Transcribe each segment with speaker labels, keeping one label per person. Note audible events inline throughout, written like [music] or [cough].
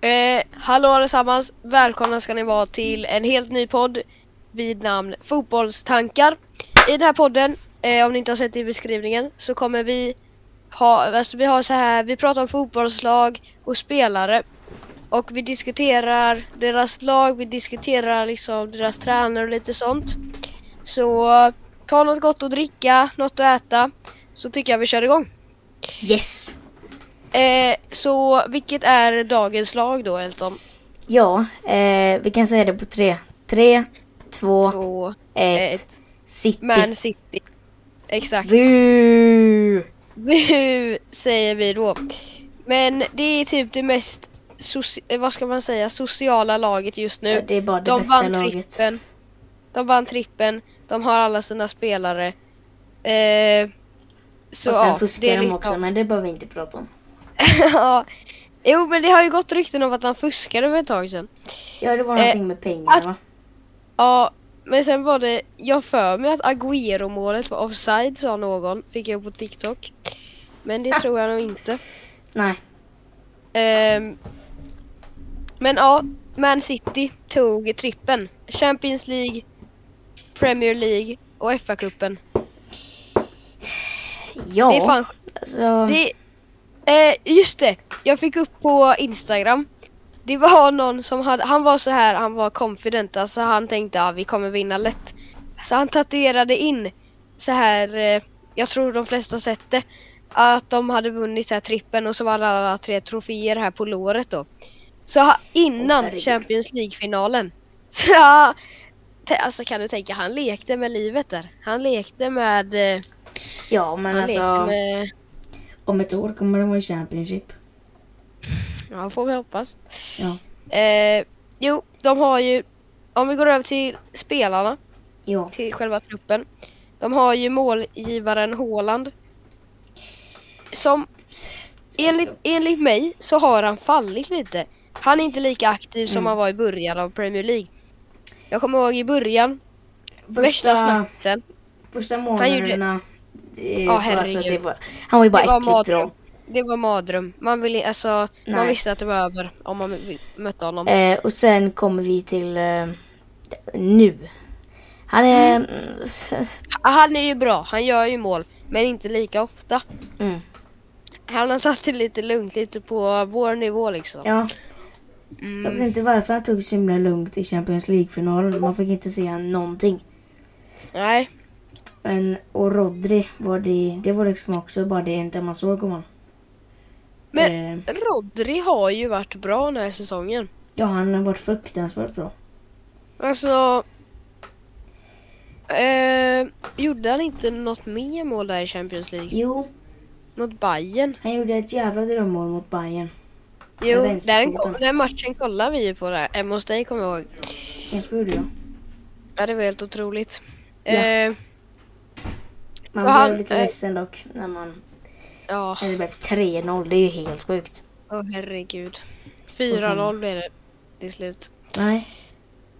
Speaker 1: Eh, Hallå allesammans! Välkomna ska ni vara till en helt ny podd vid namn Fotbollstankar. I den här podden, eh, om ni inte har sett det i beskrivningen, så kommer vi ha, alltså vi har så här, vi pratar om fotbollslag och spelare. Och vi diskuterar deras lag, vi diskuterar liksom deras tränare och lite sånt. Så ta något gott att dricka, något att äta, så tycker jag vi kör igång.
Speaker 2: Yes.
Speaker 1: Eh, så vilket är dagens lag då Elton?
Speaker 2: Ja, eh, vi kan säga det på tre. Tre, två,
Speaker 1: Två,
Speaker 2: ett.
Speaker 1: ett.
Speaker 2: City.
Speaker 1: Man City. Exakt.
Speaker 2: Bu!
Speaker 1: Bu säger vi då. Men det är typ det mest, soci- eh, vad ska man säga, sociala laget just
Speaker 2: Ja,
Speaker 1: nu.
Speaker 2: Det är bara det
Speaker 1: De
Speaker 2: bästa
Speaker 1: vann
Speaker 2: laget.
Speaker 1: trippen. De vann trippen. De har alla sina spelare. Eh, så
Speaker 2: och sen
Speaker 1: ja,
Speaker 2: fuskar
Speaker 1: det är
Speaker 2: de
Speaker 1: liksom-
Speaker 2: också, men det behöver vi inte prata om.
Speaker 1: [laughs] ja. Jo men det har ju gått rykten om att han fuskade för ett tag sedan.
Speaker 2: Ja, det var
Speaker 1: Eh,
Speaker 2: någonting med pengar
Speaker 1: att-
Speaker 2: va?
Speaker 1: Ja, men sen var det, jag för mig att Agüero-målet var offside sa någon, fick jag på TikTok. Men det tror jag nog inte.
Speaker 2: Nej.
Speaker 1: Ehm, men ja, Man City tog trippen. Champions League, Premier League och FA-cupen.
Speaker 2: Ja.
Speaker 1: Det är fan...
Speaker 2: alltså,
Speaker 1: Det, eh, just det, jag fick upp på Instagram. Det var någon som hade, han var så här, han var confident, alltså han tänkte att ah, vi kommer vinna lätt. Så han tatuerade in så här, eh, jag tror de flesta har sett det, att de hade vunnit så här trippen och så var det alla tre troféer här på låret då. Så ha-
Speaker 2: Åh,
Speaker 1: innan
Speaker 2: herregud.
Speaker 1: Champions League-finalen. [laughs] Så ja, te- alltså kan du tänka, han lekte med livet där. Han lekte med, eh,
Speaker 2: ja, men
Speaker 1: han lekte
Speaker 2: alltså.
Speaker 1: med
Speaker 2: Om ett år kommer de vara i Championship.
Speaker 1: Ja, får vi hoppas.
Speaker 2: Ja.
Speaker 1: Eh, jo, de har ju, om vi går över till spelarna,
Speaker 2: Ja.
Speaker 1: till själva truppen. De har ju målgivaren Haaland. Som, enligt, enligt mig, så har han fallit lite. Han är inte lika aktiv som
Speaker 2: Mm.
Speaker 1: han var i början av Premier League. Jag kommer ihåg i början, värsta
Speaker 2: Första,
Speaker 1: snacksen.
Speaker 2: första månaderna. eh,
Speaker 1: Ja,
Speaker 2: var alltså,
Speaker 1: herregud.
Speaker 2: det var, han var ju bara
Speaker 1: Det var
Speaker 2: äckligt
Speaker 1: mardröm.
Speaker 2: bra.
Speaker 1: Det var mardröm. Man, ville, alltså, man
Speaker 2: Nej.
Speaker 1: visste att det var över om man vi- mötte honom.
Speaker 2: Eh, och sen kommer vi till eh, nu. Han är...
Speaker 1: Han är ju bra, han gör ju mål. Men inte lika ofta.
Speaker 2: Mm.
Speaker 1: Han har tagit det lite lugnt, lite på vår nivå liksom.
Speaker 2: Ja, jag vet
Speaker 1: Mm.
Speaker 2: inte varför han tog så himla lugnt i Champions League-finalen. Man fick inte se han någonting.
Speaker 1: Nej,
Speaker 2: Men, och Rodri, var det, det var liksom också bara det enda man såg om honom.
Speaker 1: Men-
Speaker 2: Eh,
Speaker 1: Rodri har ju varit bra den här säsongen.
Speaker 2: ja, han har varit fruktansvärt bra.
Speaker 1: Alltså... Eh, gjorde han inte något mer mål där i Champions League?
Speaker 2: Jo,
Speaker 1: Mot Bayern?
Speaker 2: han gjorde ett jävla drömmål mot Bayern.
Speaker 1: Jo,
Speaker 2: Med vänsterfoten.
Speaker 1: den, kom- den matchen kollade vi ju på där. Hemma hos dig kommer jag ihåg.
Speaker 2: Kanske gjorde jag.
Speaker 1: Ja, det var helt otroligt.
Speaker 2: Ja.
Speaker 1: Eh,
Speaker 2: Man
Speaker 1: Och han-
Speaker 2: blev lite
Speaker 1: eh,
Speaker 2: ledsen dock. När man,
Speaker 1: ja,
Speaker 2: när det blev 3-0, det är ju helt sjukt.
Speaker 1: åh herregud. 4-0 blev det till slut.
Speaker 2: Nej,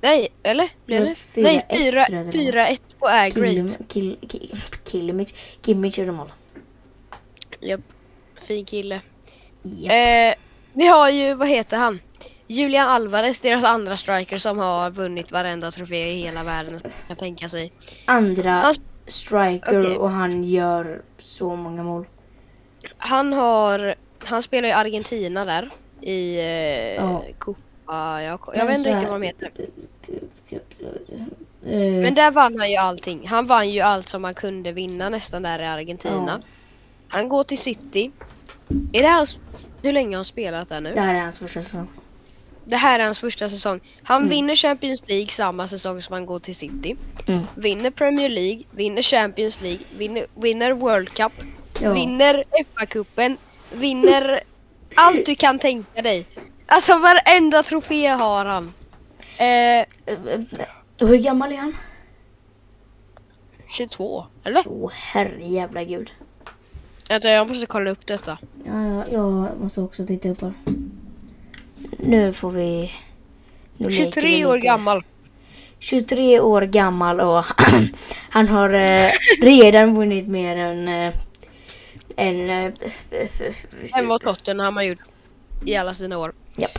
Speaker 1: Nej, eller? Blev
Speaker 2: Men
Speaker 1: det?
Speaker 2: 4-1
Speaker 1: Nej,
Speaker 2: tror jag det var.
Speaker 1: 4-1 på Air Great.
Speaker 2: Kill- Kill- Kill- Kimmich Kimmich gjorde mål.
Speaker 1: Japp. Fin kille.
Speaker 2: Ja.
Speaker 1: Eh, vi har ju, vad heter han? Julian Alvarez, deras andra striker som har vunnit varenda trofé i hela världen som man kan tänka sig.
Speaker 2: Andra
Speaker 1: Hans-
Speaker 2: striker
Speaker 1: Okej.
Speaker 2: och han gör så många mål.
Speaker 1: Han har, han spelar i Argentina där i eh,
Speaker 2: Ja.
Speaker 1: Copa, jag, jag
Speaker 2: Men
Speaker 1: vet inte
Speaker 2: så
Speaker 1: riktigt
Speaker 2: här-
Speaker 1: vad de heter.
Speaker 2: Eh,
Speaker 1: Men där vann han ju allting. Han vann ju allt som han kunde vinna nästan där i Argentina. Han går till City. Är det hans, hur länge har han spelat där nu?
Speaker 2: det här är hans första säsong.
Speaker 1: Det här är hans första säsong. Han vinner Champions League samma säsong som han går till City.
Speaker 2: Mm.
Speaker 1: Vinner Premier League, vinner Champions League, vinner, vinner World Cup,
Speaker 2: Ja.
Speaker 1: vinner FA-cupen, vinner allt du kan tänka dig. Alltså varenda trofé har han. Eh,
Speaker 2: Eh, eh, och hur gammal är han?
Speaker 1: 22, eller?
Speaker 2: Åh herrejävla gud.
Speaker 1: Vänta, jag måste kolla upp detta.
Speaker 2: Ja, ja, jag måste också titta upp här. Nu får vi... Nu leker vi
Speaker 1: 23 år
Speaker 2: lite.
Speaker 1: gammal.
Speaker 2: 23 år gammal och han har eh, redan vunnit mer än... Eh, än eh,
Speaker 1: Än vad Tottenham har gjort i alla sina år.
Speaker 2: Japp.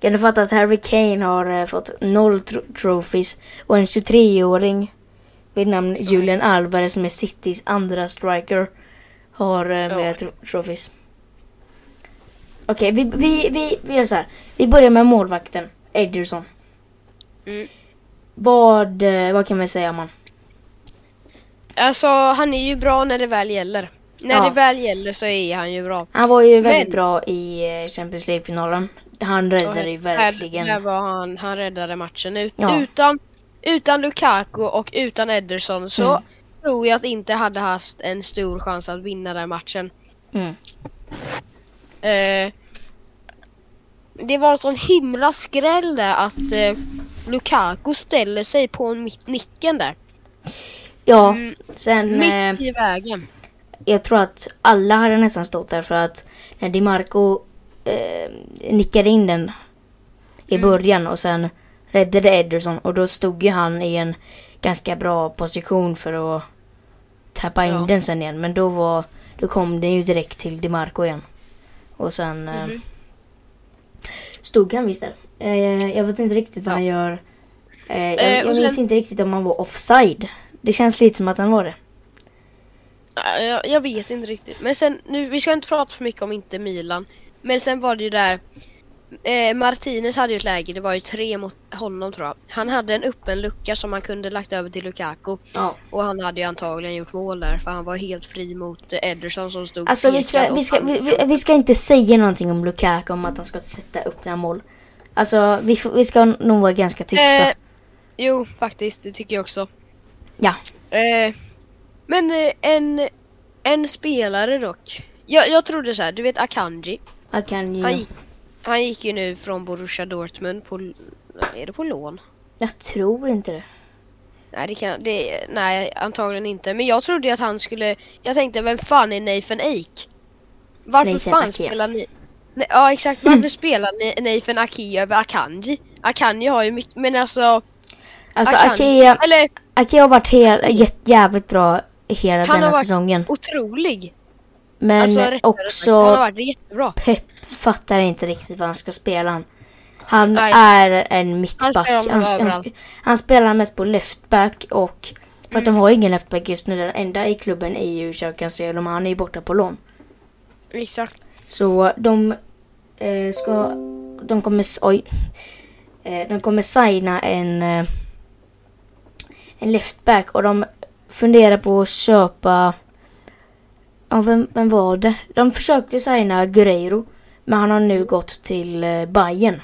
Speaker 2: Kan du fatta att Harry Kane har eh, fått noll tro- trophies och en 23-åring vid namn Julian Alvarez som är Citys andra striker har eh,
Speaker 1: Ja.
Speaker 2: mer tro- trophies. Okej, vi, vi, vi, vi gör så här. Vi börjar med målvakten Ederson.
Speaker 1: Mm.
Speaker 2: Vad, eh, vad kan vi säga om han?
Speaker 1: Alltså han är ju bra när det väl gäller. När
Speaker 2: Ja.
Speaker 1: det väl gäller så är han ju bra.
Speaker 2: Han var ju väldigt
Speaker 1: Men-
Speaker 2: bra i eh, Champions League-finalen. Han räddade ju
Speaker 1: Och här-
Speaker 2: verkligen.
Speaker 1: Där var han, han räddade matchen. Ut,
Speaker 2: Ja.
Speaker 1: utan, utan Lukaku och utan Ederson så
Speaker 2: Mm.
Speaker 1: tror jag att inte hade haft en stor chans att vinna den matchen.
Speaker 2: Mm.
Speaker 1: Eh, det var en sån himla skräll där att eh, Lukaku ställer sig på mitt nicken där.
Speaker 2: Ja,
Speaker 1: Mm,
Speaker 2: sen... eh,
Speaker 1: mitt i vägen.
Speaker 2: jag tror att alla hade nästan stått där för att när Di Marco eh, nickade in den i
Speaker 1: Mm.
Speaker 2: början och sen räddade Ederson och då stod ju han i en ganska bra position för att tappa in
Speaker 1: Ja.
Speaker 2: den sen igen. Men då, var, då kom den ju direkt till Di Marco igen. Och sen eh,
Speaker 1: Mhm.
Speaker 2: stod han visst där. Eh, jag vet inte riktigt vad
Speaker 1: Ja.
Speaker 2: han gör. Eh, jag
Speaker 1: Eh,
Speaker 2: jag
Speaker 1: och
Speaker 2: minns
Speaker 1: sen-
Speaker 2: inte riktigt om han var offside. Det känns lite som att han var det.
Speaker 1: Ja, Jag, jag vet inte riktigt. Men sen, nu, vi ska inte prata för mycket om inte Milan. Men sen var det ju där. Eh, Martinez hade ju ett läge, det var ju tre mot honom tror jag. Han hade en öppen lucka som han kunde lagt över till Lukaku.
Speaker 2: Ja.
Speaker 1: Och han hade ju antagligen gjort mål där för han var helt fri mot eh, Ederson som stod
Speaker 2: Alltså vi
Speaker 1: pekad
Speaker 2: ska,
Speaker 1: och
Speaker 2: vi, ska,
Speaker 1: han-
Speaker 2: vi, vi- vi ska inte säga någonting om Lukaku om att han ska sätta upp några mål. Alltså vi, får- vi ska nog vara ganska tysta.
Speaker 1: Eh, jo, faktiskt. Det tycker jag också.
Speaker 2: Ja.
Speaker 1: Eh, men eh, en, en spelare dock. Jag, jag trodde så här, du vet Akanji.
Speaker 2: Jag kan
Speaker 1: Han,
Speaker 2: ju,
Speaker 1: gick, han gick ju nu från Borussia Dortmund på... Är det på lån?
Speaker 2: jag tror inte det.
Speaker 1: Nej, det kan, det, nej, antagligen inte. Men jag trodde ju att han skulle... Jag tänkte, vem fan är Nathan Ake? Varför
Speaker 2: Nathan
Speaker 1: fan
Speaker 2: Ake.
Speaker 1: spelar ni... Nej, ja, exakt.
Speaker 2: [laughs]
Speaker 1: Varför spelar ni Nathan Ake över Akanji? Akanji har ju mycket... Men alltså...
Speaker 2: Alltså
Speaker 1: Akanji-
Speaker 2: Ake,
Speaker 1: Eller,
Speaker 2: Ake har varit helt, jätt- jävligt bra hela
Speaker 1: har
Speaker 2: denna
Speaker 1: varit-
Speaker 2: säsongen.
Speaker 1: otrolig.
Speaker 2: Men
Speaker 1: alltså, rättare sagt, Han har
Speaker 2: också
Speaker 1: varit jättebra.
Speaker 2: Pep fattar inte riktigt vad han ska spela. Han- Han
Speaker 1: Nej.
Speaker 2: är en mittback.
Speaker 1: Han spelar
Speaker 2: Han,
Speaker 1: honom
Speaker 2: han, han,
Speaker 1: överallt.
Speaker 2: spelar mest på leftback och för
Speaker 1: Mm.
Speaker 2: att de har ingen leftback just nu. Den enda i klubben är ju Xhaka Cancelo, men han är ju borta på lån.
Speaker 1: Exakt.
Speaker 2: Så de eh, ska... De kommer... s- Oj. Eh, de kommer signa en... Eh, en leftback och de funderar på att köpa... Ja, vem, vem var det? De försökte signa Guerreiro. Men han har nu gått till eh, Bayern.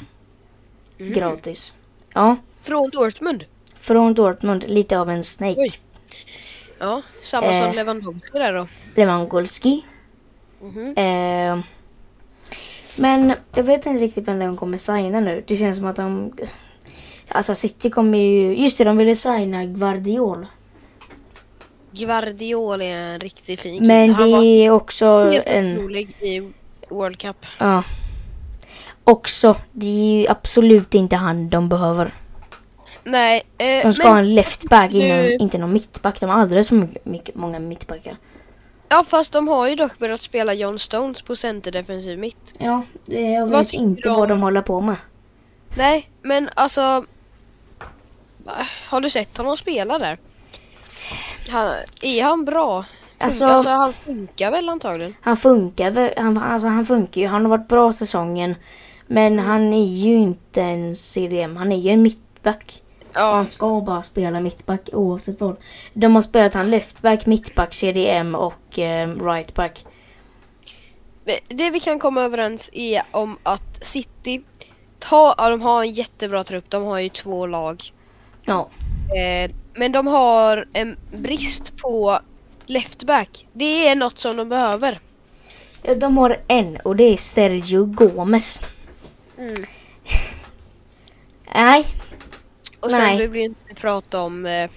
Speaker 2: Gratis. Ja.
Speaker 1: Från Dortmund.
Speaker 2: Från Dortmund. Lite av en snake.
Speaker 1: Oj. Ja, samma
Speaker 2: Eh.
Speaker 1: som Lewandowski där då.
Speaker 2: Lewandowski.
Speaker 1: Mhm.
Speaker 2: Eh, men jag vet inte riktigt vem de kommer signa nu. Det känns som att de... Alltså City kommer ju... Just det, de ville signa Guardiol.
Speaker 1: Guardiol är en riktigt fin kille.
Speaker 2: Men
Speaker 1: han
Speaker 2: det
Speaker 1: var
Speaker 2: är också
Speaker 1: helt
Speaker 2: en...
Speaker 1: otrolig i World Cup.
Speaker 2: Ja. Också, det är ju absolut inte han de behöver.
Speaker 1: Nej, eh,
Speaker 2: De ska
Speaker 1: men
Speaker 2: ha en leftback,
Speaker 1: nu-
Speaker 2: innan, inte någon mittback. De har alldeles för mycket, mycket, många mittbackar.
Speaker 1: ja, fast de har ju dock börjat spela John Stones på centerdefensiv mitt.
Speaker 2: Ja, jag
Speaker 1: Vad
Speaker 2: vet
Speaker 1: tycker
Speaker 2: inte
Speaker 1: du om-
Speaker 2: vad de håller på med.
Speaker 1: Nej, men alltså... va? Har du sett honom spela där? Han, är han bra? Funkar, alltså,
Speaker 2: Alltså-
Speaker 1: alltså han funkar väl antagligen.
Speaker 2: Han funkar, väl- han, alltså han funkar ju. Han har varit bra säsongen. Men han är ju inte en CDM, han är ju en mittback.
Speaker 1: Ja,
Speaker 2: Han ska bara spela mittback oavsett vad. De har spelat han leftback, mittback, CDM och eh, rightback.
Speaker 1: Det vi kan komma överens är om att City ta, ja, de har en jättebra trupp, de har ju två lag.
Speaker 2: Ja,
Speaker 1: Eh, men de har en brist på leftback. Det är något som de behöver.
Speaker 2: Eh, de har en och det är Sergio Gomes.
Speaker 1: Mm.
Speaker 2: Nej,
Speaker 1: Och sen
Speaker 2: Nej.
Speaker 1: vill vi inte prata om eh,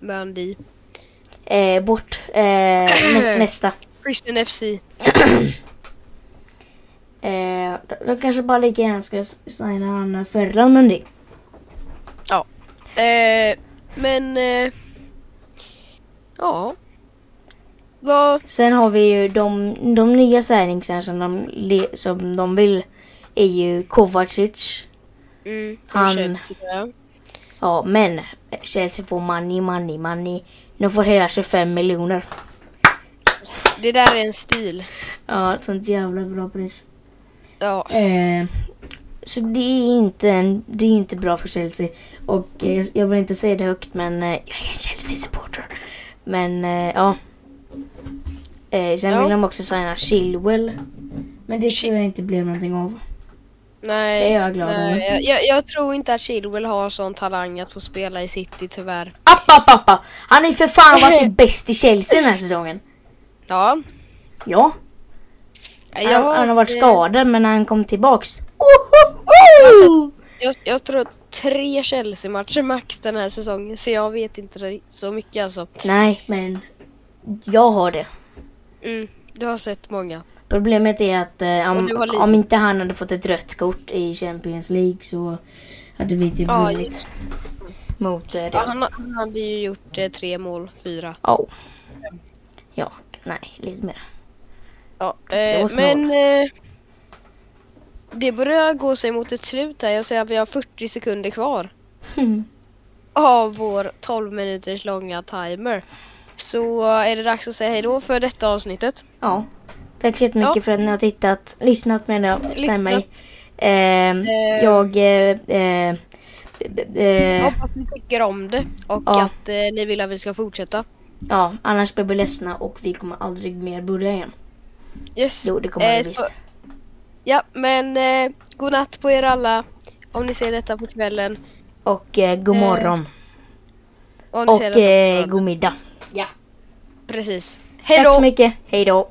Speaker 1: Mandy.
Speaker 2: eh, bort. Eh, nä- nästa.
Speaker 1: Christian FC.
Speaker 2: Eh, de, de kanske bara lika gärna ska s- signa han Ferran Mendy.
Speaker 1: Eh, men... Eh, ja. Vad...
Speaker 2: Sen har vi ju de, de nya signingsen som de, le- som de vill är ju Kovacic.
Speaker 1: Mm, och
Speaker 2: Han-
Speaker 1: Chelsea, ja.
Speaker 2: Ja, men Chelsea får money, money, money. De får hela 25 miljoner.
Speaker 1: Det där är en stil.
Speaker 2: Ja, ett sånt jävla bra pris.
Speaker 1: Ja.
Speaker 2: Eh, så det är, inte en, det är inte bra för Chelsea. Och eh, jag- jag vill inte säga det högt men eh, jag är en Chelsea-supporter. Men eh, ja. Eh, sen
Speaker 1: Ja.
Speaker 2: vill de också signa Chilwell. Men det tror jag inte blev någonting av.
Speaker 1: Nej,
Speaker 2: Det är jag glad över.
Speaker 1: nej jag, jag, jag tror inte att Chilwell har sån talang att få spela i City tyvärr.
Speaker 2: App, app, app, app. Han är för fan
Speaker 1: [laughs]
Speaker 2: varit typ bäst i Chelsea den här säsongen.
Speaker 1: Ja.
Speaker 2: Ja,
Speaker 1: Jag,
Speaker 2: han, han har varit
Speaker 1: eh,
Speaker 2: skadad men när han kom tillbaks.
Speaker 1: Jag, jag tror tre Chelsea-matcher max den här säsongen, så jag vet inte så mycket alltså.
Speaker 2: Nej, men jag har det.
Speaker 1: Mm, du har sett många.
Speaker 2: Problemet är att eh,
Speaker 1: Och du har
Speaker 2: om,
Speaker 1: lidit.
Speaker 2: om inte han hade fått ett rött kort i Champions League så hade vi typ
Speaker 1: Ja,
Speaker 2: vunnit mot eh,
Speaker 1: Ja,
Speaker 2: Real.
Speaker 1: han, han hade ju gjort eh, tre mål, fyra.
Speaker 2: Ja. Ja, nej, lite mer.
Speaker 1: Ja,
Speaker 2: var
Speaker 1: eh,
Speaker 2: snål.
Speaker 1: men eh, det börjar gå sig mot ett slut här. Jag säger att vi har 40 sekunder kvar
Speaker 2: Mm.
Speaker 1: av vår 12 minuters långa timer. Så eh, är det dags att säga hej då för detta avsnittet.
Speaker 2: Ja. Tack så jättemycket
Speaker 1: Ja.
Speaker 2: för att ni har tittat, lyssnat menar jag, snäll mig.
Speaker 1: Lyssnat.
Speaker 2: Ehm,
Speaker 1: Eh.
Speaker 2: jag... Eh, eh, d- d-
Speaker 1: Jag
Speaker 2: eh,
Speaker 1: hoppas ni tycker om det och
Speaker 2: Ja.
Speaker 1: att eh, ni vill att vi ska fortsätta.
Speaker 2: ja, annars blir vi ledsna och vi kommer aldrig mer börja igen.
Speaker 1: Yes.
Speaker 2: Jo, det kommer vi
Speaker 1: Eh, så-
Speaker 2: visst.
Speaker 1: Ja, men eh, god natt på er alla. Om ni ser detta på kvällen.
Speaker 2: Och eh, god
Speaker 1: eh,
Speaker 2: morgon.
Speaker 1: Om ni ser
Speaker 2: och
Speaker 1: detta på
Speaker 2: eh,
Speaker 1: morgonen.
Speaker 2: god middag. Ja.
Speaker 1: Precis. Hej
Speaker 2: Tack så
Speaker 1: då!
Speaker 2: mycket. Hej då.